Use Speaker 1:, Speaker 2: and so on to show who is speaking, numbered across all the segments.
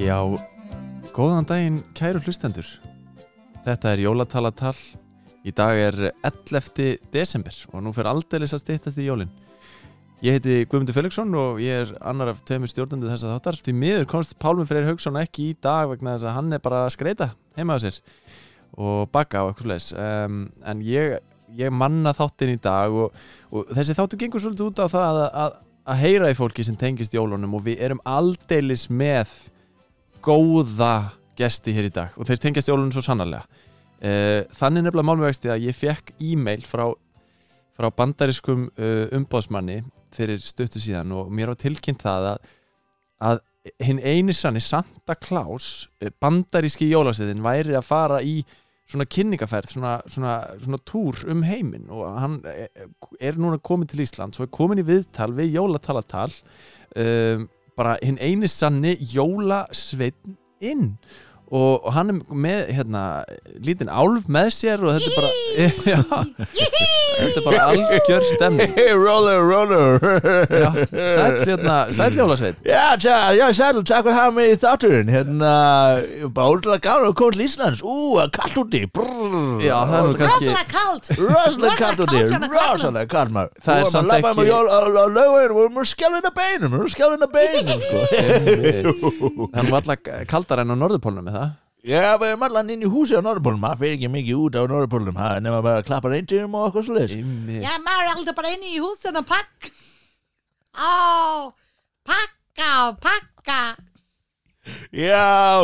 Speaker 1: Já, góðan daginn kæru hlustendur. Þetta er jólatalatal. Í dag er 11. desember og nú fer aldeilis að stýttast í jólin. Ég heiti Guðmundur Felixson og ég er annar af tveimur stjórnandi þess að þáttar. Því miður komst Pálmi Freyr Haugsson ekki í dag vegna þess að hann er bara að skreita heima á sér og baka og eitthvað slags. Um, en ég, ég manna þáttin í dag og, og þessi þáttu gengur svolítið út á það að, að, að heyra í fólki sem tengist jólunum og við erum aldeilis með góða gesti hér í dag og þeir tengjast jólunum svo sannarlega Eh, þannig nefnilega málmvegsti að ég fekk e-mail frá, frá bandariskum uh, umbóðsmanni fyrir stuttu síðan og mér var tilkynnt það að, að hinn eini sanni Santa Claus eh, bandaríski jólaseðin væri að fara í svona kynningaferð, svona, svona, svona túr um heiminn og hann eh, er núna komin til Ísland svo er komin í viðtal við jólatalatal um, bara hinn eini sanni jólasveinn inn og, og hann er með hérna, lítinn álf með sér og þetta er bara já, þetta er bara algjör stemning
Speaker 2: Hey, roller, roller
Speaker 1: já, sæll hérna, sæll jólasveinn
Speaker 2: Já, tja, já, sæl, takk fyrir að hafa mig í þátturinn Hérna, báðulega gáður að koma til Íslands Ú, kallt úti brrr.
Speaker 1: já, það er nú kannski
Speaker 3: Rosalega kallt
Speaker 2: Rosalega kallt úti,
Speaker 3: hérna á köflum.
Speaker 2: rosalega kallt maður
Speaker 1: Það er samt
Speaker 2: Við
Speaker 1: ekki-
Speaker 2: vorum að labba um á lögin, við vorum að skjálfina beinum Við vorum að skjálfina beinum, sko
Speaker 1: hann var alltaf kaldar enn á norðupólnum með það
Speaker 2: Já, við erum allan inn í húsi á Norðupólum Það fer ekki mikið út á Norðupólum Það er nema bara að klappa reyndirum og okkur slis
Speaker 1: Einmitt.
Speaker 3: Já, maður er alltaf bara inni í húsin og pakk Á, pakka og pakka
Speaker 2: Já,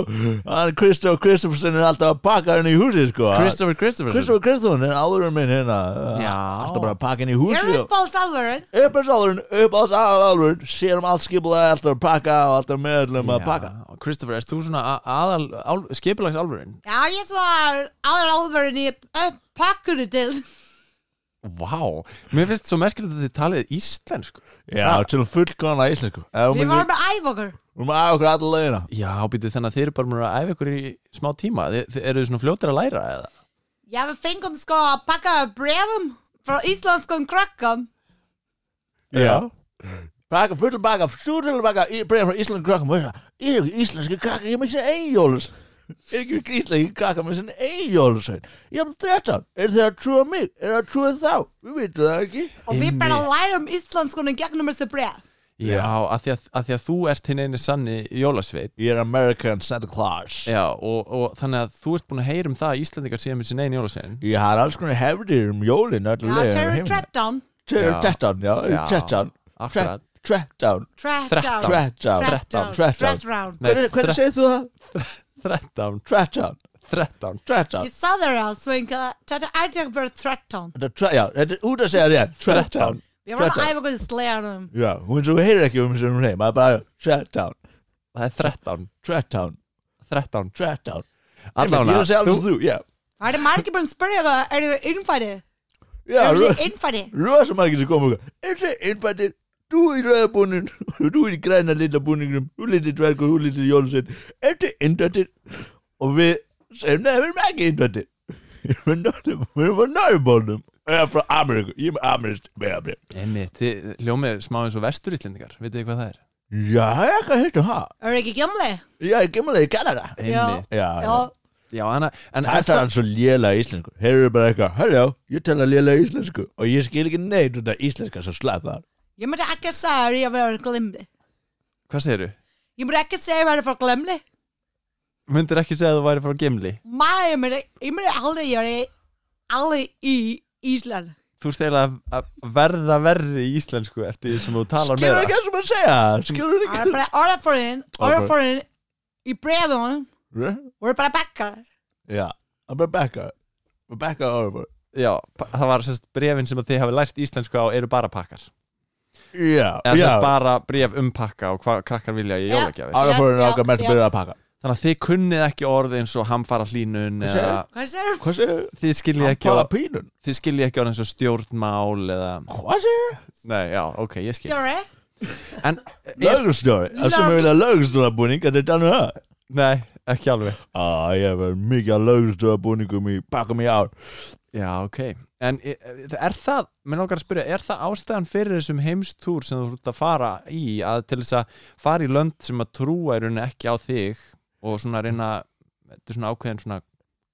Speaker 2: hann Kristó Kristoffersen er alltaf að pakka henni í húsi, sko
Speaker 1: Christopher Christopher
Speaker 2: Kristoffer Kristoffersen er áðurinn minn hérna
Speaker 1: Já.
Speaker 2: Alltaf bara að pakka henni í
Speaker 3: Ég
Speaker 2: húsi
Speaker 3: er
Speaker 2: og-
Speaker 3: uppbólsálfurinn
Speaker 2: uppáðsálurinn, uppáðsálurinn sér um allt skipulega, alltaf að pakka og alltaf meðlum að pakka
Speaker 1: Kristoffer, erst þú svona a- aðal ál- skipulags álfurinn?
Speaker 3: Já, ég er svo aðra álfurinn í upp- pakkunu til
Speaker 1: Vá, mér finnst svo merkilegt að þið talið íslensku
Speaker 2: Já, til fullkona íslensku Ef
Speaker 3: Við
Speaker 2: Við
Speaker 3: vorum að æfa okkur
Speaker 2: vorum að okkur allir leiðina
Speaker 1: Já, býtu þannig að þið eru bara mér að æfa ykkur í smá tíma Þið, þið eru svona fljótir að læra eða?
Speaker 3: Já, við fengum sko að pakka brefum frá íslenskum krakkum
Speaker 2: Pakka, fullur pakka, stúrtil pakka bregðan frá íslensku krakkum og þess að er ekki íslenski krakka, ég með sinni eigjólus er ekki íslenski krakka með sinni eigjólus ég hef þrettan, er þeir að trúa mig er þeir að trúa þá, við veitum það ekki
Speaker 3: og við bara
Speaker 1: Einmitt.
Speaker 3: lærum íslenskunum gegnum þessi bref
Speaker 1: Já, að því að, að því að þú ert hinn eini sanni jólasveit
Speaker 2: Ég er American Santa Claus
Speaker 1: Já, og, og þannig að þú ert búin að heyra um það að Íslandingar séu með sin eini jólasveitin
Speaker 2: Ég har alls konar hefðir um jólin öllu
Speaker 3: Já,
Speaker 2: leiðina
Speaker 3: Terry
Speaker 2: heim.
Speaker 3: Tretton
Speaker 1: Já.
Speaker 2: Tretton, tretton,
Speaker 1: Já.
Speaker 2: já, tretton
Speaker 1: Akkurat.
Speaker 2: Tretton
Speaker 1: Þrettán.
Speaker 3: Tretton
Speaker 2: Tretton
Speaker 3: Tretton
Speaker 2: Tretton
Speaker 3: Tretton
Speaker 2: Hvernig hvernig segir þú það?
Speaker 1: 13,
Speaker 2: Tretton
Speaker 1: 13
Speaker 2: Tretton
Speaker 3: Ég sa þér að svinga Þetta er ekki bara 13
Speaker 2: Þetta er tre- Já, þetta er út að segja þér Tretton
Speaker 3: Við vorum að
Speaker 2: Þrettán.
Speaker 3: æfa okkur í sleganum
Speaker 2: Já, hún svo heyrir ekki um sem hún heim Það er bara Tretton,
Speaker 1: Það er 13,
Speaker 2: tretton,
Speaker 1: 13
Speaker 2: tretton
Speaker 1: Allána,
Speaker 2: Ég er að segja alls þú, já
Speaker 3: Það er margir búin að spyrja það Erum við innfæri?
Speaker 2: Já,
Speaker 3: Erum
Speaker 2: ro-
Speaker 3: við innfæri?
Speaker 2: rosa margir sem koma og ganga, Er það innfættir Þú í rauða búnin Þú í græna lilla búningnum Þú lítið dvergur, þú lítið jólusinn Er það innfættir Og við segjum, nei, við erum ekki innfættir Við erum norður- við erum frá Norðbólnum Ég er frá Ameríku, ég er með amerískt vegabréf.
Speaker 1: Einmitt, þið hljómið smá eins og vestur Íslandingar Vitið þið hvað það er?
Speaker 2: Já, ég hvað heitir það?
Speaker 3: Erum við ekki gömli?
Speaker 2: Já, ég kemur það í Kanada
Speaker 1: Einmitt,
Speaker 2: Já,
Speaker 3: Já,
Speaker 2: já
Speaker 1: já, hann að en
Speaker 2: Það
Speaker 1: er
Speaker 2: talar hann svo léla íslensku Heyrðu bara eitthvað, hello, ég tala léla íslensku Og ég skil ekki neitt út af íslenska svo slapp það
Speaker 3: Ég myndi ekki að segja að ég verið glimli
Speaker 1: Hvað segirðu?
Speaker 3: Ég myndi ekki að segja að ég verið frá glimli
Speaker 1: Myndir ekki segja að þú væri frá Gimli?
Speaker 3: Mæ, ég myndi Ég myndi aldrei Ég er alveg í Ísland
Speaker 1: Þú ert eiginlega að- að verða verri í íslensku eftir því sem þú talar
Speaker 2: Skilur
Speaker 1: meira
Speaker 2: ekki það sem hann segja Skilur
Speaker 3: Það
Speaker 2: ekki
Speaker 3: er bara orðaforinn Orðaforinn
Speaker 2: Orðaforinn.
Speaker 3: Í brefunum
Speaker 2: Re-
Speaker 3: Voru bara bakkar
Speaker 2: Já, hann bara bekka Bekka Oliver
Speaker 1: Já, pa- það var sérst brefin sem að þið hafi lært íslensku á eru bara pakkar
Speaker 2: Já,
Speaker 1: Eða
Speaker 2: já
Speaker 1: sérst bara bref um pakka og hvað krakkar vilja í
Speaker 3: Já.
Speaker 1: jólagjafi
Speaker 2: Oliver er
Speaker 3: Já,
Speaker 2: okkar
Speaker 3: já.
Speaker 2: með að byrja að pakka
Speaker 1: Þannig að þið kunnið ekki orð eins og hamfara hlínun
Speaker 2: Hvað
Speaker 1: eða
Speaker 3: Hvað segir
Speaker 2: Hvað segir?
Speaker 1: þið skiljið
Speaker 2: Hann
Speaker 1: ekki,
Speaker 2: tala
Speaker 1: orð-
Speaker 2: pínun
Speaker 1: þið skiljið ekki orð eins og stjórnmál eða
Speaker 2: Hvað segir?
Speaker 1: Nei, já, ok, ég skil
Speaker 3: Gjörri?
Speaker 1: En, eh,
Speaker 2: Lögustjóri Það sem er
Speaker 3: Lög-
Speaker 2: vilja lögustjóra búning Þetta er þannig það
Speaker 1: nei, ekki alveg
Speaker 2: Ah, Á, ég hef verið mikið að lögustjóra búningum í Pakkum í ár
Speaker 1: Já, ok En e- e- er það, mér langar að spyrja, er það ástæðan fyrir þessum heimstúr sem þú ert að fara í að til þess að fara í lönd sem að trúa í rauninni ekki á þig og svona reyna, þetta er svona ákveðin svona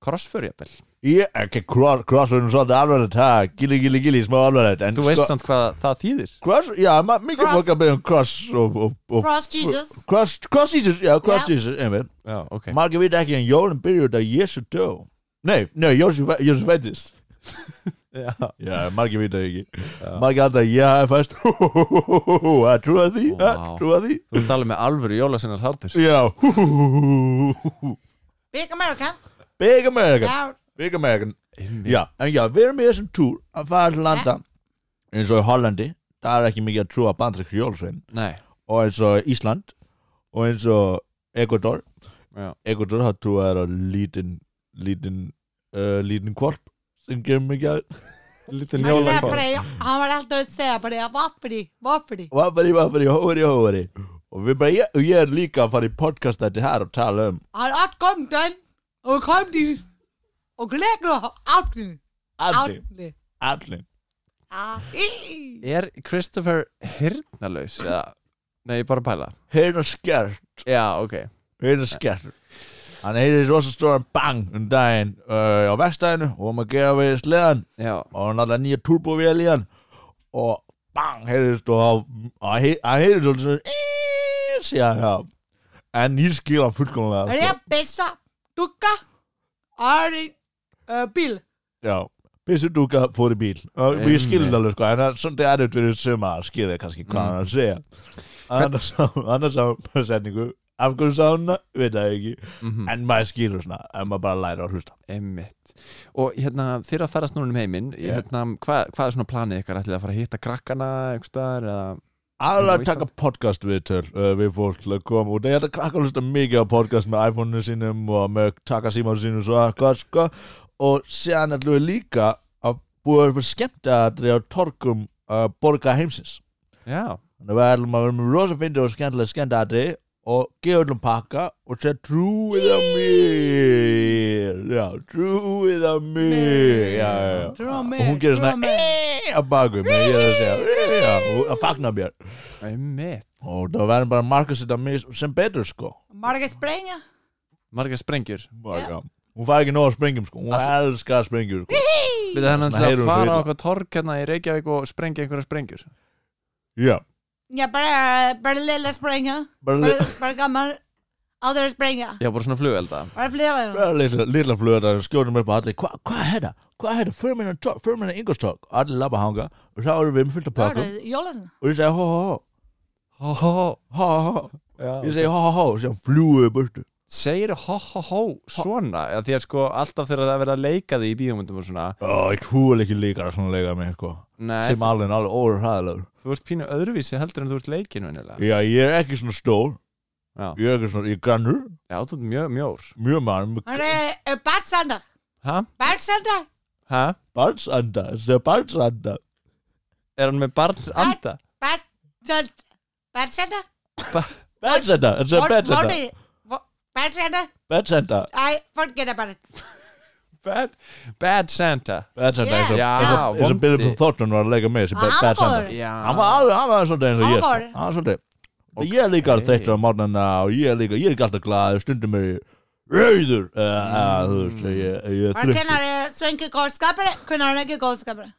Speaker 1: crossfurjabel.
Speaker 2: Ég, ekki, cross, cross er nú svolítið alvarlegt, ha, gili, gili, gili, smá alvarlegt En
Speaker 1: Þú veist samt hvað það þýðir.
Speaker 2: Cross, já, ma- mikið
Speaker 3: Cross.
Speaker 2: fólk að byrja um cross og, og, og
Speaker 3: Cross Jesus
Speaker 2: Cross, cross Jesus, já, cross
Speaker 3: Já.
Speaker 2: eh, Jesus, einmitt
Speaker 1: Já, ok.
Speaker 2: Margir vita ekki en jólinn byrjuðu þetta Jésu dó Nei, nei, Jósef Jósef fættist
Speaker 1: Já,
Speaker 2: Já, margir vita ekki
Speaker 1: Já.
Speaker 2: Margir alltaf, já, ég fæst Það trúa því, það
Speaker 1: Vá.
Speaker 2: trúa því
Speaker 1: þú ert alveg með alvöru jólasinnar hlátur.
Speaker 2: Já Big
Speaker 3: Big American
Speaker 2: American
Speaker 3: Já,
Speaker 2: Big American Já, en já, við erum í þessum túr að fara til landa eins og í Hollandi það er ekki mikið að trúa bandrækki jólsvein
Speaker 1: Nei,
Speaker 2: og eins og Ísland og eins og Ecuador
Speaker 1: já,
Speaker 2: Ecuador það trúa er á lítinn lítinn uh, lítinn kvarp sem gefur mikið að
Speaker 1: lítinn
Speaker 3: hann segja bara
Speaker 1: jólakvár.
Speaker 3: Hann var alltaf að segja bara Vaffri, vaffri
Speaker 2: Vaffari, vaffari, hófari, hófari Og við bara, ég, og ég er líka að fara í podcast þetta her og tala um
Speaker 3: Hann átt kom den Og kom til Og glegur átni
Speaker 2: Allir,
Speaker 3: Átni
Speaker 2: allir
Speaker 3: Átni
Speaker 1: Er Christopher hirnalaus? Já, nei, ég er bara að pæla.
Speaker 2: Hérna skert,
Speaker 1: Já, ok.
Speaker 2: hérna skert Hann heyrði rosa stóran bang um daginn uh, á vestæðinu og um að gefa við sleðan
Speaker 1: Já,
Speaker 2: og hann alltaf nýja turbovél í hann og bang, heyrðist og hann- hann hey- hann heyrðist og svona "Eeeeeeeeeeeeeeeeeeeeeeeeeeeeeeeeeeeeeeeeeeeeeeeeeeeeeeeeeeeeeeeee, síðan já en ég skil hann fullkomlega sko.
Speaker 3: Repesa Dukka Ari uh, Bíl
Speaker 2: já, pissudúka fór í bíl og ég skil
Speaker 1: Einmitt.
Speaker 2: þetta alveg sko en það er svolítið erfitt fyrir suma að skilja kannski hvað hann er að segja annars á, annars á setningu af hverju sá hann það, veit það ekki
Speaker 1: Mhm. Mm.
Speaker 2: en maður skilur svona, en maður bara læra að hlusta
Speaker 1: Einmitt. Og hérna, þeirra að ferast núna um heiminn,
Speaker 2: Já.
Speaker 1: hérna, hvað, hvað er svona planið ykkar? Ætlið þið að fara að hitta krakkana einhvers staðar eða...
Speaker 2: aðra
Speaker 1: Á
Speaker 2: að taka podcast við töl uh, við fólk til að koma út ég ætla að krakka að hlusta mikið á podcast með iPhone-inu sínum og með taka símanu sínum svo hvað sko og séðan ætlum við líka að búa upp skemmt að það á torkum uh, borga heimsins
Speaker 1: Já,
Speaker 2: Þannig að við ætlum að vera með rosa fyndi og skemmtilega skemmtadri og gefa öllum pakka og segja trúið á mér já, trúið á mér já, já, já
Speaker 3: Trú á
Speaker 2: og
Speaker 3: mig
Speaker 2: hún gerir
Speaker 3: trú á
Speaker 2: svona
Speaker 3: mig.
Speaker 2: "Eh", á bakum en ég er að segja "Eh", já, og að fagna mér
Speaker 1: einmitt.
Speaker 2: og það verður bara markaðsett að mig sem betur sko
Speaker 3: Marga sprenga
Speaker 1: Margar sprengjur.
Speaker 2: Marga. hún fær ekki nóg að sprengjum sko hún elskar sprengjur sko
Speaker 1: Við það hann
Speaker 2: Svona
Speaker 1: að
Speaker 2: heyrum svo
Speaker 1: fara á
Speaker 2: illa.
Speaker 1: okkur torg hérna í Reykjavík og sprengja einhverja sprengjur.
Speaker 2: já,
Speaker 3: Já, bara, bara lilla sprenga
Speaker 2: bara
Speaker 3: Bara,
Speaker 2: li-
Speaker 3: bara gammal Aldrei sprenga
Speaker 1: Já, bara svona flugelda.
Speaker 3: Bara flera þeirra
Speaker 2: bara litla, litla flugur að skjóðum upp og allir "Hva- hvað er þetta, hvað er þetta fyrir minna tok, fyrir minna yngustokk allir labba hanga og þá erum við með fullt af
Speaker 3: Það
Speaker 2: pakkum
Speaker 3: eru jólasinn
Speaker 2: og ég segi hó hó hó
Speaker 1: Hó, hó, hó.
Speaker 2: hó hó hó ég
Speaker 1: Já.
Speaker 2: segi hó hó hó og sér flúið burtu
Speaker 1: Segir hó, hó, hó svona, eða því að sko alltaf þegar það er verið að leika því í bíómyndum og svona,
Speaker 2: Ó, ég trúið ekki líka að svona leika mig sko
Speaker 1: nei,
Speaker 2: sem alveg alveg óræðilegur
Speaker 1: þú ert pínu öðruvísi heldur en þú ert leikinu venjulega.
Speaker 2: já, ég er ekki svona stór
Speaker 1: Já.
Speaker 2: ég er ekki svona, ég er grannur
Speaker 1: Já, þú ert mjög mjór.
Speaker 2: mjög mann,
Speaker 3: Hann er øh, er barnsanda
Speaker 1: Hæ?
Speaker 3: Barnsanda
Speaker 1: Hæ?
Speaker 2: barnsanda þetta er barnsanda
Speaker 1: Er hann með barns anda?
Speaker 3: Barnsanda Barnsanda
Speaker 2: Bedsenda, þetta er bedsenda
Speaker 3: Barnsanda
Speaker 2: Bedsenda
Speaker 3: Æ, forget about it
Speaker 1: Bad, bad Santa.
Speaker 2: Bedsenda eins og-
Speaker 1: Já,
Speaker 2: eins og- eins
Speaker 1: vondi.
Speaker 2: og Billy Thornton var að leika með þessi
Speaker 3: Hann var
Speaker 2: bedsenda
Speaker 3: góður.
Speaker 1: Já.
Speaker 2: Hann var alveg, hann var svolítið eins og
Speaker 3: Hann
Speaker 2: ég sko.
Speaker 3: var góður.
Speaker 2: Hann var svolítið Ég er líka að þreytta á morgnana og ég er líka, ég er ekki alltaf glaður, stundum er ég rauður uh, uh, Þú veist, ég, ég er
Speaker 3: Bara
Speaker 2: þreyttur
Speaker 3: hvenær er svengi góðskapari Hvenær er ekki góðskapari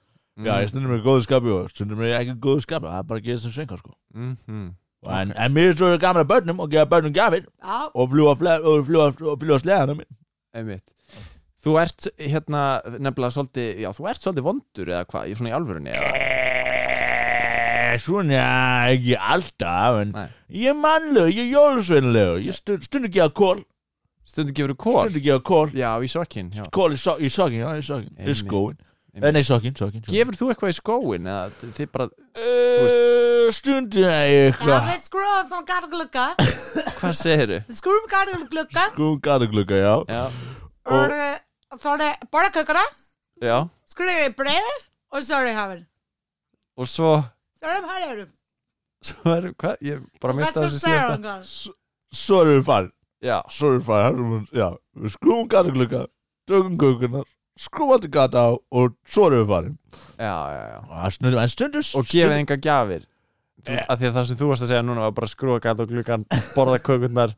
Speaker 2: Já, ég stundum er í góðu skapi og stundum er ég ekki í góðu skapi Það er bara að gera sem svenka sko
Speaker 1: Mhm.
Speaker 2: En, en mér er svo gamla börnum og gefa börnum gafir
Speaker 3: Já,
Speaker 2: og fljúa, fle- og fljúa, og fljúa sleðanum
Speaker 1: Einmitt. Þú ert hérna nefnilega svolítið, já þú ert svolítið vondur eða hvað, ég svona í alvörunni eða?
Speaker 2: Eh, Svona, ekki alltaf en
Speaker 1: Nei.
Speaker 2: Ég er mannlegur, ég er jólusveinlegur Ég stund, stund ekki að kól
Speaker 1: Stundu gefur þú kól?
Speaker 2: Stund ekki að kól
Speaker 1: Já, í sokkinn, já.
Speaker 2: Kól í, so í sokkin, já, í sokkin Í
Speaker 1: Einmitt,
Speaker 2: skóin
Speaker 1: einmitt.
Speaker 2: Eh, Nei, sokkin, sokkin
Speaker 1: Gefur þú eitthvað í skóin eða þið bara,
Speaker 2: Stund eitthvað
Speaker 3: það við skrúum svona garglugga
Speaker 1: hvað segir þau?
Speaker 3: Skrúum garglugga
Speaker 2: Skúm garðuglugga, já
Speaker 1: Já,
Speaker 3: Og eh, svona borðkökuna
Speaker 1: já,
Speaker 3: Skrúum í breiði Og sorry hafinn
Speaker 1: og svo,
Speaker 3: Sorry hafinn erum
Speaker 1: svo er, hvað, ég bara
Speaker 3: Hvað
Speaker 1: mista
Speaker 3: skal
Speaker 1: þessu
Speaker 3: segja
Speaker 1: síðasta.
Speaker 3: hann góð
Speaker 2: Svo erum við farin
Speaker 1: Já,
Speaker 2: Svo erum við farin hann er- Já, við skúm garðuglugga Tökum kökunar skrúfa til gata og svo erum við farin
Speaker 1: já, já, já
Speaker 2: og það stundum, en stundum
Speaker 1: og gefið enga gjafir Þú-
Speaker 2: Eh.
Speaker 1: af því að það sem þú varst að segja núna var bara að skrúa gata og glukkan, borða kökurnar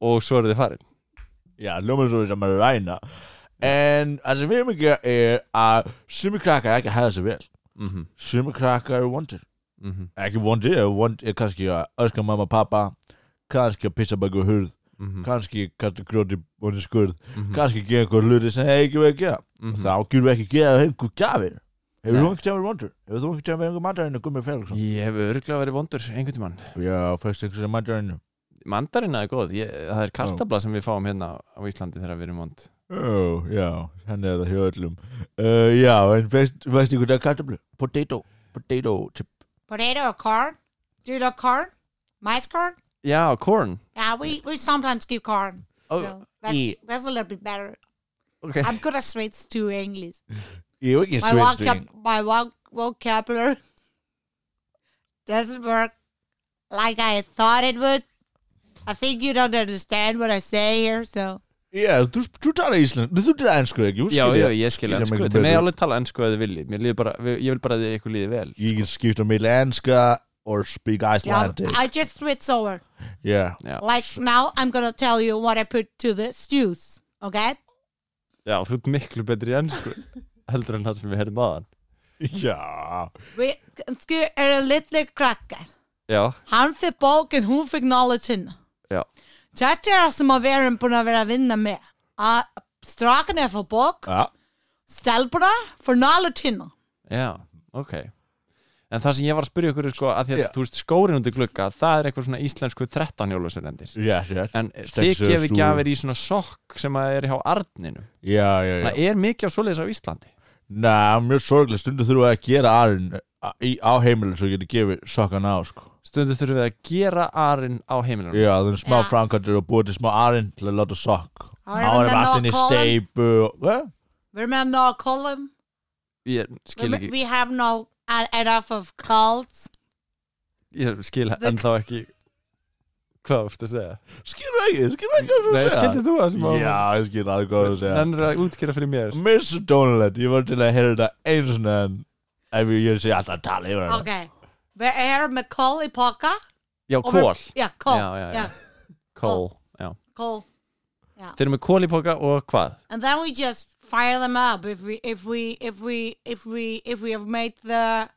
Speaker 1: og svo eru þið farin
Speaker 2: já, ljómaður svo sem maður er að ræna en það sem við erum ekki er að sumi krakkar ekki hæða sér vel
Speaker 1: mm
Speaker 2: Mhm,
Speaker 1: -hmm.
Speaker 2: sumi krakkar eru vondir
Speaker 1: Mm -hmm.
Speaker 2: ekki vondir, eru vond er kannski að öskra mamma og pappa kannski að pissa baka hurð
Speaker 1: Mhm.
Speaker 2: kannski kannski grjóti vondir skurð kannski gera einhver hluti sem hefur ekki verið að gera
Speaker 1: Mhm.
Speaker 2: þá getum við ekki gera einhver gjafir hefur
Speaker 1: Nei.
Speaker 2: þú ekki tjáður vondur hefur þú ekki tjáður einhver mandarinn að Gummi Felixson
Speaker 1: ég hef örglega verið vondur einhvern tímann
Speaker 2: já, fyrst einhver sem mandarinn
Speaker 1: mandarina er góð, ég, það er kartabla sem við fáum hérna á Íslandi þegar við erum vond
Speaker 2: Ó, já, hann er það hjá öllum uh, Já, en veist, veist ykkur það er kartablu? Potato, potato chip
Speaker 3: Potato or corn? Do you like corn? Mice corn?
Speaker 1: já, corn
Speaker 3: Yeah, we, we sometimes give corn.
Speaker 1: oh,
Speaker 3: so that's,
Speaker 2: yeah.
Speaker 3: that's a little bit better.
Speaker 1: okay.
Speaker 3: I'm good at Swedes too, English.
Speaker 2: Ég hef ekki
Speaker 3: My,
Speaker 2: sveist
Speaker 3: vocab- my voc- vocabulary doesn't work like I thought it would. I think you don't understand what I say here, so.
Speaker 2: Já, þú, þú tala íslensk, þú tala ennsku ekki, þú
Speaker 1: já,
Speaker 2: skilja
Speaker 1: já, ég skil
Speaker 2: skilja mig
Speaker 1: ennsku
Speaker 2: ekki
Speaker 1: þið með
Speaker 2: betur.
Speaker 1: alveg tala ennsku að þið viljið Mér líður bara, við- ég vil bara að þið ykkur líði vel
Speaker 2: Ég get skipt á milli enska or speak
Speaker 3: Yeah,
Speaker 2: Icelandic
Speaker 3: I just switch over.
Speaker 2: Já,
Speaker 1: já,
Speaker 3: Like now, I'm gonna tell you what I put to the stews, okay?
Speaker 1: já þú ert miklu betri í ennsku heldur en það sem við heyrðum aðan
Speaker 2: já
Speaker 3: Vi kanske är en liten kracka.
Speaker 1: já,
Speaker 3: er, Han fick boken, hon fick knowledgen.
Speaker 1: já,
Speaker 3: Detta är som att vara på några vinna med. Ah, Straken är för bok,
Speaker 2: Já,
Speaker 3: stelporna för knowledgen.
Speaker 1: já, ok En það sem ég var að spyrja ykkur er sko að því að
Speaker 2: Já.
Speaker 1: þú veist skórin undir glugga það er eitthvað svona íslensku 13 jólusunendir
Speaker 2: já, já
Speaker 1: En þið
Speaker 2: Stendur sig
Speaker 1: gefið
Speaker 2: sú-
Speaker 1: gjafir í svona sokk sem að er hjá Arninum
Speaker 2: Já, já, já
Speaker 1: Það er mikið á svoleiðis á Íslandi
Speaker 2: Næ, mjög sorglega, stundu þurfum við að gera arinn í- á heimilin svo getið gefið sokkana á sko
Speaker 1: Stundu þurfum við að gera arinn á heimilunum
Speaker 2: Já, það er smá
Speaker 3: Já.
Speaker 2: framkvæmdur og búið til smá arinn til að láta sokk
Speaker 3: Áður
Speaker 2: Áður
Speaker 3: en það
Speaker 2: vatnin í
Speaker 3: ná kolum.
Speaker 2: steipu og- Hva?
Speaker 3: We're med no column.
Speaker 1: Ég skil
Speaker 3: We,
Speaker 1: ekki,
Speaker 3: we have no uh, enough of cults.
Speaker 1: ég skil ennþá ekki Hvað vorstu að segja?
Speaker 2: Skilur ekki, skilur ekki hvað þú
Speaker 1: Nei,
Speaker 2: segja
Speaker 1: skildir þú það sem að
Speaker 2: Já, ég skilur alveg hvað þú segja
Speaker 1: Þannig að útskýra fyrir mér
Speaker 2: Miss Donald, ég var til að heyra þetta eins og enn Ef ég- ég sé alltaf að tala yfir hana
Speaker 3: Okay. We are Macaulay Poca.
Speaker 1: Já,
Speaker 3: og við-
Speaker 1: kól,
Speaker 3: Yeah, coal.
Speaker 1: Yeah,
Speaker 3: Yeah,
Speaker 1: yeah, yeah. kól já.
Speaker 3: coal.
Speaker 1: Þeir eru með kól í póka og hvað?
Speaker 3: And then we just fire them up if we if we if we if we if we have made the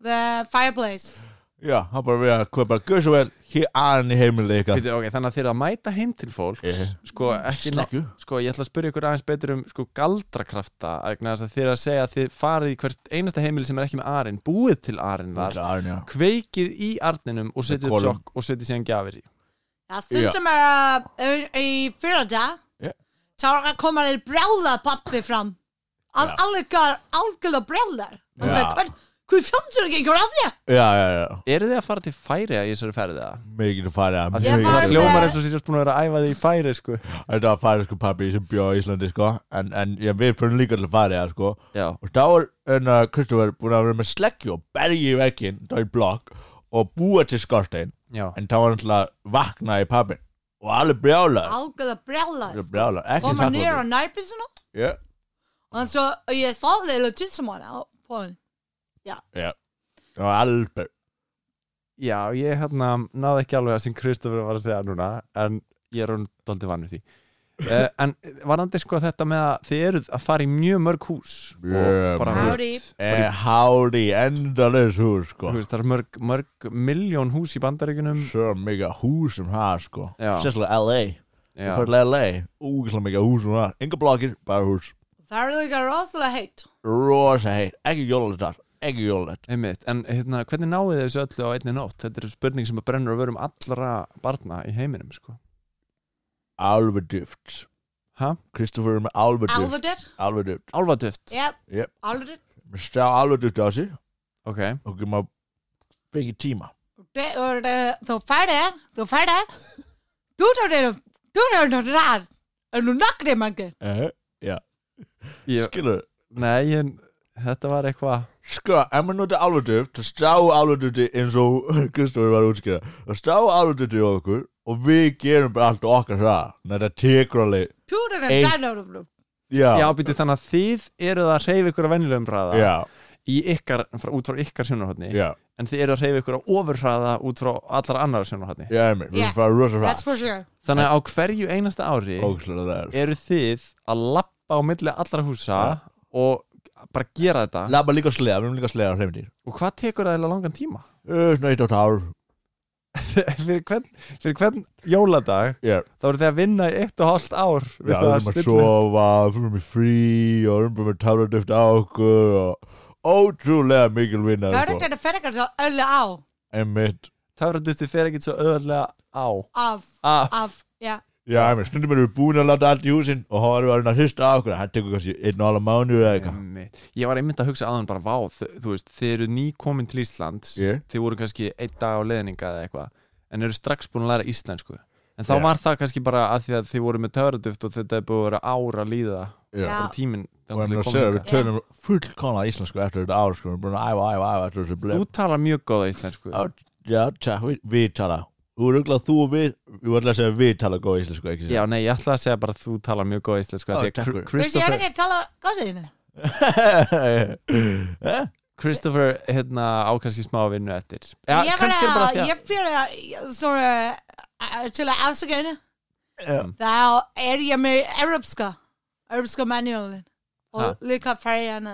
Speaker 3: the fireplace.
Speaker 2: Já, hann bara við að hvað bara Guð svo vel, hér arinn í heimilin ykkar
Speaker 1: Bíddu, ok, þannig að þeir eru að mæta heim til fólks
Speaker 2: Ég-
Speaker 1: sko, ekki, ná-
Speaker 2: Sleggju.
Speaker 1: sko, ég ætla að spyrja ykkur aðeins betur um sko, galdrakrafta vegna þess að þeir eru að segja að þið farið í hvert einasta heimili sem er ekki með arinn, búið til arinn
Speaker 2: Það
Speaker 1: þar,
Speaker 2: er arinn, já
Speaker 1: kveikið í arninum og setið upp
Speaker 2: kolum.
Speaker 1: sjokk og setið síðan gjafir í
Speaker 3: Ja, stundum er uh, i fredag
Speaker 2: Ja.
Speaker 3: så uh, kommer det bröllopapper fram. Av
Speaker 2: Ja.
Speaker 3: alla alkohol och bröllor. Och
Speaker 2: Ja.
Speaker 3: så tar hur fan tror du jag gör det?
Speaker 2: Já, já, já
Speaker 1: Eru þið að fara til færiða í þessari ferðið það?
Speaker 2: Mikið að fara
Speaker 1: Af því
Speaker 3: Ég
Speaker 1: að
Speaker 3: var
Speaker 1: Það
Speaker 2: Mikið
Speaker 3: með-
Speaker 1: hljómar eins og sér búin að vera að æfa því í færi sko.
Speaker 2: Þetta var færisku pappi sem bjó í Íslandi sko En, en ég við fyrir líka til að fara það sko
Speaker 1: Já,
Speaker 2: Og þá var øh, enna Kristoffer búin að vera með sleggju og bergi í vekkinn, þá í blokk og búa til skorstein
Speaker 1: já,
Speaker 2: en þá var hann til að vakna í pappin og alveg brjálar
Speaker 3: Alkohol och bröllor.
Speaker 2: brjálar, ekki
Speaker 3: Kommer ner och närpar honom.
Speaker 2: Já,
Speaker 3: Och så jag sa lite tyst som honom. På honom.
Speaker 2: já Það var alveg
Speaker 1: já ég hérna náði ekki alveg að sem Kristofur var að segja núna en ég er hún daldið vann við því uh, en varandi sko þetta með að þið eruð að fara í mjög mörg hús
Speaker 2: Mjög
Speaker 1: og bara
Speaker 2: mörg.
Speaker 1: þú
Speaker 3: Howdy.
Speaker 1: veist,
Speaker 2: eh, hádi endalaus hús sko
Speaker 1: þú veist, það er mörg, mörg miljón hús í bandaríkunum
Speaker 2: Svo mikið hús sem það sko
Speaker 1: Já.
Speaker 2: Sérslega LA
Speaker 1: Já.
Speaker 2: Fyrir LA, úgislega mikið hús sem það Enga blokkir, bara hús
Speaker 3: Där ligger Rosala hett.
Speaker 2: Rosa heit, ekki jólalegt Ekki jólalegt
Speaker 1: Einmitt. en hérna, hvernig náðu þið þessu öllu á einni nótt þetta er spurning sem brennur að verum allra barna í heiminum sko.
Speaker 2: Alveg dýft
Speaker 1: Ha?
Speaker 2: Kristoffer er með alveg dýft
Speaker 3: Alvedet.
Speaker 2: Alveg dýft
Speaker 1: álfaduft
Speaker 3: Ja,
Speaker 2: Yep.
Speaker 3: alvedet.
Speaker 2: Stá alveg dýft á sig
Speaker 1: ok,
Speaker 2: og getur maður fengið tíma
Speaker 3: Det är det. Då färdig. Då färdig. Du tar det. Du tar det där. Är du nackig, Magge?
Speaker 2: uh, Já,
Speaker 1: ég,
Speaker 2: skilur
Speaker 1: nei, en, þetta var eitthvað
Speaker 2: Sko, ef maður nota alveg dýft þá stá alveg dýfti eins og Kristofur var að útskýra þá stá alveg dýfti á okkur og við gerum bara allt okkar það en þetta tekur alveg
Speaker 3: Du tar
Speaker 2: Ey.
Speaker 3: det där.
Speaker 1: Já, býttu þannig að þið eruð að hreyfa ykkur á venjulegum hraða
Speaker 2: já,
Speaker 1: í ykkar, frá, út frá ykkar sjónarhóttni
Speaker 2: já,
Speaker 1: en þið eruð að hreyfa ykkur á ofurhraða út frá allar annar sjónarhóttni
Speaker 2: já, ég meina, við
Speaker 3: Yeah.
Speaker 2: erum farið rosa
Speaker 3: That's
Speaker 2: rætt
Speaker 3: for sure
Speaker 1: Þannig að á hverju einasta ári
Speaker 2: Ógslur það er
Speaker 1: eru þið að lappa á milli allra húsa
Speaker 2: Ja.
Speaker 1: og bara gera þetta
Speaker 2: Labba líka slega, við erum líka slega á hreimdýr
Speaker 1: og hvað tekur það eiginlega langan tíma?
Speaker 2: Uh, Svona eitt átt ár
Speaker 1: fyrir, hvern, fyrir hvern jóladag
Speaker 2: Já,
Speaker 1: þá eru þið að vinna í eitt og hálft ár
Speaker 2: já, við erum að sofa, við erum í frí og við erum bara með táratöft á okkur og ótrúlega mikil vinna sko.
Speaker 3: Törnundinu fer ekkert svo öllu á
Speaker 2: Emmitt
Speaker 1: Töfraduttu fer ekkert svo öðlega á Ah,
Speaker 3: Af,
Speaker 1: af,
Speaker 3: af, já
Speaker 2: Já, emmitt, stundum erum við búin að láta allt í húsin og þá erum við að reyna að hrista á okkur Hann tekur kannski einn og alveg mánu eða eitthvað
Speaker 1: Einmitt. ég var einmitt að hugsa aðan bara vá, þ- þú veist, þið eru nýkomin til Íslands
Speaker 2: Ég?
Speaker 1: þið voru kannski einn dag á leðninga eða eitthvað en eru strax búin að læra íslensku en þá
Speaker 2: Já.
Speaker 1: var það kannski bara að því að þið voru með töfraduft og þetta er búið að vera ár að líða
Speaker 2: Já
Speaker 1: og tíminn
Speaker 2: Og hann
Speaker 1: þangað til
Speaker 2: er að
Speaker 1: kom
Speaker 2: segja, við
Speaker 1: hingað.
Speaker 2: tölum fullkona íslensku eftir þetta ár sko, við erum búin að æfa, æfa, æfa eftir þessu blef
Speaker 1: þú talar mjög góða íslensku
Speaker 2: Já, Já, takk, við, við tala Þú eru örugglega þú og við Við ætla að segja við tala góð íslensku, ekki
Speaker 1: já, nei, ég ætla að segja bara að þú talar mjög góða íslensku
Speaker 2: Ó,
Speaker 1: af því
Speaker 2: takk
Speaker 1: að
Speaker 2: fyrir.
Speaker 1: Kr-
Speaker 3: Þú veist, ég er
Speaker 1: Christopher,
Speaker 3: ekki að tala góðsýðinu
Speaker 2: segja
Speaker 1: Christopher hérna, á kannski smá að vinna eftir já,
Speaker 3: Ég var
Speaker 1: kannski er bara
Speaker 3: að,
Speaker 1: því að
Speaker 3: ég fyrir að, svona, að- til að afsaka henni
Speaker 2: Já.
Speaker 3: Þá er ég með europska, europska manuálin
Speaker 1: Ha.
Speaker 3: Og líka ferjana,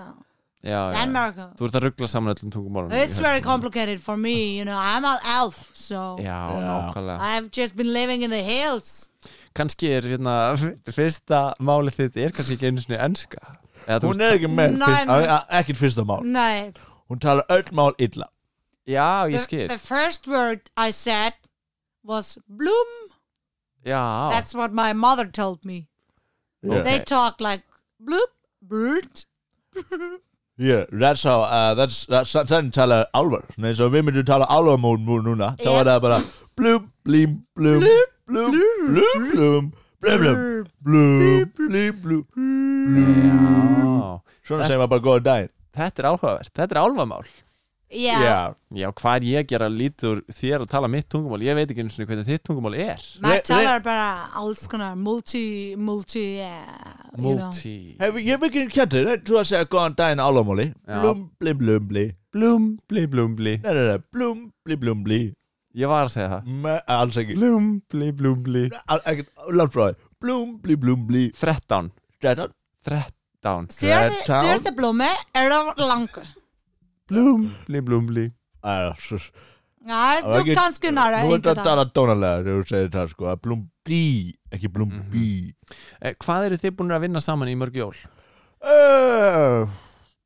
Speaker 1: já, já.
Speaker 3: Danmark
Speaker 1: þú ert að ruggla saman öllum tungumálum
Speaker 3: It's very complicated for me, you know, I'm an elf, so
Speaker 1: já,
Speaker 2: Já.
Speaker 1: nákvæmlega
Speaker 3: I've just been living in the hills
Speaker 1: kannski er hérna f- fyrsta málið þitt er kannski ekki einu sinni enska Eða, þú
Speaker 2: Hún
Speaker 1: veist-
Speaker 2: er ekki með
Speaker 3: Nei,
Speaker 2: fyrst,
Speaker 3: nei.
Speaker 2: að- ekkert fyrsta mál
Speaker 3: Nei,
Speaker 2: Hún talar öll mál illa
Speaker 1: já, ég
Speaker 3: the,
Speaker 1: skil
Speaker 3: the first word I said was bloom
Speaker 1: já,
Speaker 3: That's what my mother told me.
Speaker 1: Ah. Yeah.
Speaker 3: They
Speaker 1: Okay.
Speaker 3: talk like bloop, brut.
Speaker 2: Yeah, that's how, uh, that's, that's, that's þannig tala álvar Nei, svo við myndum tala álvarmón mú núna Þá
Speaker 3: Já.
Speaker 2: var það bara blum, blím, blum blum, blum, blum blum, blum, blum, blum, blum
Speaker 1: já.
Speaker 2: Svona segir maður bara góða daginn
Speaker 1: þetta er áhugavert, þetta er álfamál
Speaker 3: Yeah.
Speaker 2: Já.
Speaker 1: já, hvað er ég að gera lítur þér að tala mitt tungumál ég veit ekki einu sinni hvernig þitt tungumál er
Speaker 3: Maður
Speaker 2: Re-
Speaker 3: talar bara alls konar multi, multi, uh, yeah,
Speaker 1: multi,
Speaker 2: Hef, ég hef ekki kjöntur, þú að segja góðan daginn álamóli
Speaker 1: Já.
Speaker 2: Blum, blim, blum, bli
Speaker 1: blum, bli, blum, bli
Speaker 2: Nei, nei, nei, blum, blim, blum, bli
Speaker 1: ég var að segja það
Speaker 2: Me- Alls ekki
Speaker 1: blum, bli, blum, bli
Speaker 2: altså Al- Ekkert, langt frá þig Blum, blim, blum, bli
Speaker 1: 13,
Speaker 2: Þetta
Speaker 1: 13
Speaker 3: Sérst-
Speaker 2: Town.
Speaker 3: Sérsta blómi er það langur.
Speaker 1: blum, bli, blum, bli
Speaker 2: Æja, sus
Speaker 3: Já,
Speaker 2: Það var
Speaker 3: þú
Speaker 2: ekki-
Speaker 3: kannski næra
Speaker 2: Nú er
Speaker 3: einhvern
Speaker 2: þetta
Speaker 3: dag.
Speaker 2: tala dónalega þegar þú segir það sko að Blum, bli, ekki blum,
Speaker 1: Mhm.
Speaker 2: bli
Speaker 1: Eh, Hvað eru þið búin að vinna saman í mörg jól?
Speaker 2: Eh,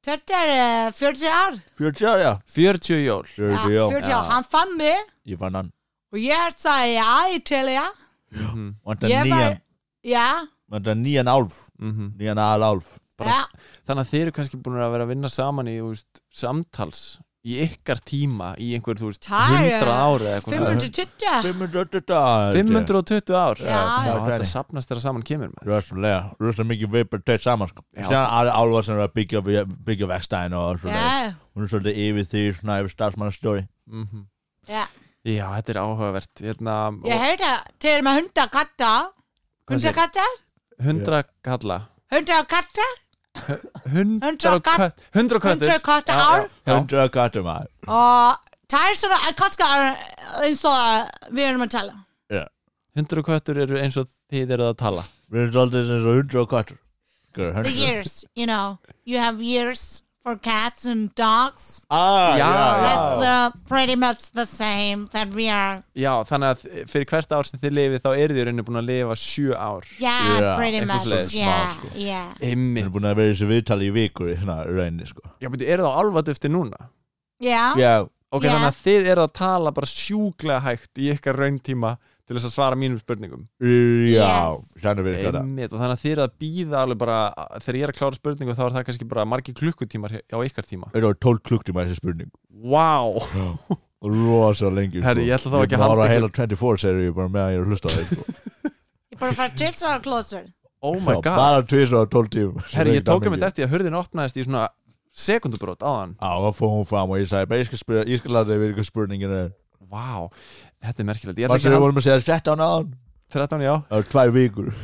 Speaker 3: Þetta er eh, 40 ár.
Speaker 2: 40 ára, já
Speaker 1: 40 jól
Speaker 3: Ja,
Speaker 2: 40 ára,
Speaker 3: 40 ár. Hann fann mig
Speaker 2: ég fann hann
Speaker 3: og ég sagði já í Telia.
Speaker 1: Mhm,
Speaker 2: Vantar
Speaker 3: Ég var,
Speaker 2: nýjan,
Speaker 3: já,
Speaker 2: vantar nýjan álf
Speaker 1: mhm.
Speaker 2: Nýjan alálf
Speaker 1: Bara-
Speaker 3: já,
Speaker 1: Þannig að þið eru kannski búin að vera að vinna saman í þú veist, samtals í ykkar tíma í einhver þú veist,
Speaker 3: Það er-
Speaker 1: 100 ára eða eitthvað
Speaker 3: 520.
Speaker 2: 500
Speaker 1: 520 ár
Speaker 3: Já, já.
Speaker 1: þetta sapnast þegar saman kemur maður.
Speaker 2: Rössalega, rössalega mikið við bara tveir saman sko
Speaker 1: Já.
Speaker 2: Sér aðra álvar sem er að byggja, byggja vegstæðin og svona
Speaker 3: Já,
Speaker 2: Hún er svolítið yfir því, svona yfir starfsmannastóri
Speaker 1: Mhm.
Speaker 3: já.
Speaker 1: Já, þetta er áhugavert hérna, og-
Speaker 3: Ég heyrði til með hundakatta.
Speaker 1: hvað segir-
Speaker 3: Hundakatta?
Speaker 1: 100 kalla
Speaker 3: Hundakatta?
Speaker 1: 100
Speaker 3: kall-
Speaker 1: kött 100 köttur
Speaker 3: Hundakatta
Speaker 1: Já,
Speaker 3: ár?
Speaker 1: já, já.
Speaker 2: Hundra kattum að
Speaker 3: Og það er svona, eh, kannski er eins og eh, við erum að tala.
Speaker 1: 100 köttur eru eins og þið eruð að tala
Speaker 2: Við erum svolítið sem svo hundra kattur
Speaker 3: The years, you know. You have years for cats and dogs.
Speaker 2: Ah,
Speaker 1: Já.
Speaker 2: já,
Speaker 1: Wow.
Speaker 3: That's
Speaker 2: já
Speaker 3: the, pretty much the same that we are.
Speaker 1: Já, þannig að fyrir hvert ár sem þið lifið þá eru þið rauninni búin að lifa 7 ár
Speaker 3: Yeah,
Speaker 2: Yeah,
Speaker 3: pretty
Speaker 1: eitthvað
Speaker 3: much.
Speaker 1: svoleiðis,
Speaker 3: yeah,
Speaker 2: smá, sko.
Speaker 3: yeah.
Speaker 2: Við erum
Speaker 1: Einmitt
Speaker 2: búin að vera í þessu viðtali í vikur í svona rauninni sko
Speaker 1: Já, betur, eru það álfadufti núna?
Speaker 3: Yeah.
Speaker 2: Já,
Speaker 1: Ok,
Speaker 3: Já.
Speaker 1: þannig að þið eru að tala bara sjúklega hægt í ykkar rauntíma til þess að svara mínum spurningum
Speaker 2: já,
Speaker 3: Yes.
Speaker 2: þannig við þetta
Speaker 1: Einmitt, og þannig að þið eru að býða alveg bara þegar ég er að klára spurningu þá er það kannski bara margir klukkutímar á ykkar tíma
Speaker 2: Þetta var 12 klukktíma þessi spurning
Speaker 1: Vá,
Speaker 2: Rosa lengi sko.
Speaker 1: Herri, ég ætla þá ekki að
Speaker 2: Ég
Speaker 1: halda
Speaker 2: var að
Speaker 1: ykkur-
Speaker 2: heila 24 segir ég bara meðan ég er að hlusta á þig sko.
Speaker 3: Ég bara fara til þess að klostur.
Speaker 1: oh my
Speaker 2: Já,
Speaker 1: god
Speaker 2: Bara tvisra á 12 tíma
Speaker 1: Herri, ég tók um þetta eftir að hurðin opnaðist í svona sekundubrót áðan
Speaker 2: Já, það fór hún fram og ég sagði bara, ég skal, spyrja, ég skal láta þig við ykkur spurningin er.
Speaker 1: Vá, þetta er merkilegt Ég ætla
Speaker 2: Varstu
Speaker 1: ekki
Speaker 2: við
Speaker 1: að
Speaker 2: vorum að segja 13 án?
Speaker 1: 13, já
Speaker 2: Það var tvær vikur.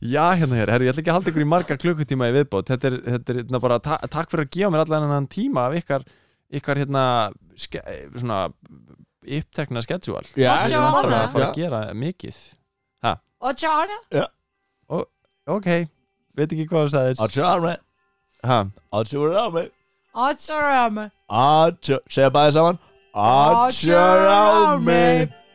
Speaker 1: Já, hérna hér, herri, ég ætla ekki að halda ykkur í marga klukkutíma í viðbót Þetta er, þetta er hérna bara, ta takk fyrir að gefa mér allan hennan tíma af ykkar, ykkar hérna, ske, svona upptekna schedule
Speaker 2: Já,
Speaker 1: Ég
Speaker 3: sjá
Speaker 1: er bara
Speaker 3: hana.
Speaker 1: að fara að gera mikið
Speaker 3: Og John,
Speaker 1: Ok, veit ekki hvað þú sagðir
Speaker 2: Atjo arme,
Speaker 1: Ha,
Speaker 2: atjo arme,
Speaker 3: og John
Speaker 2: atjo, segja bæði saman, atjo arme.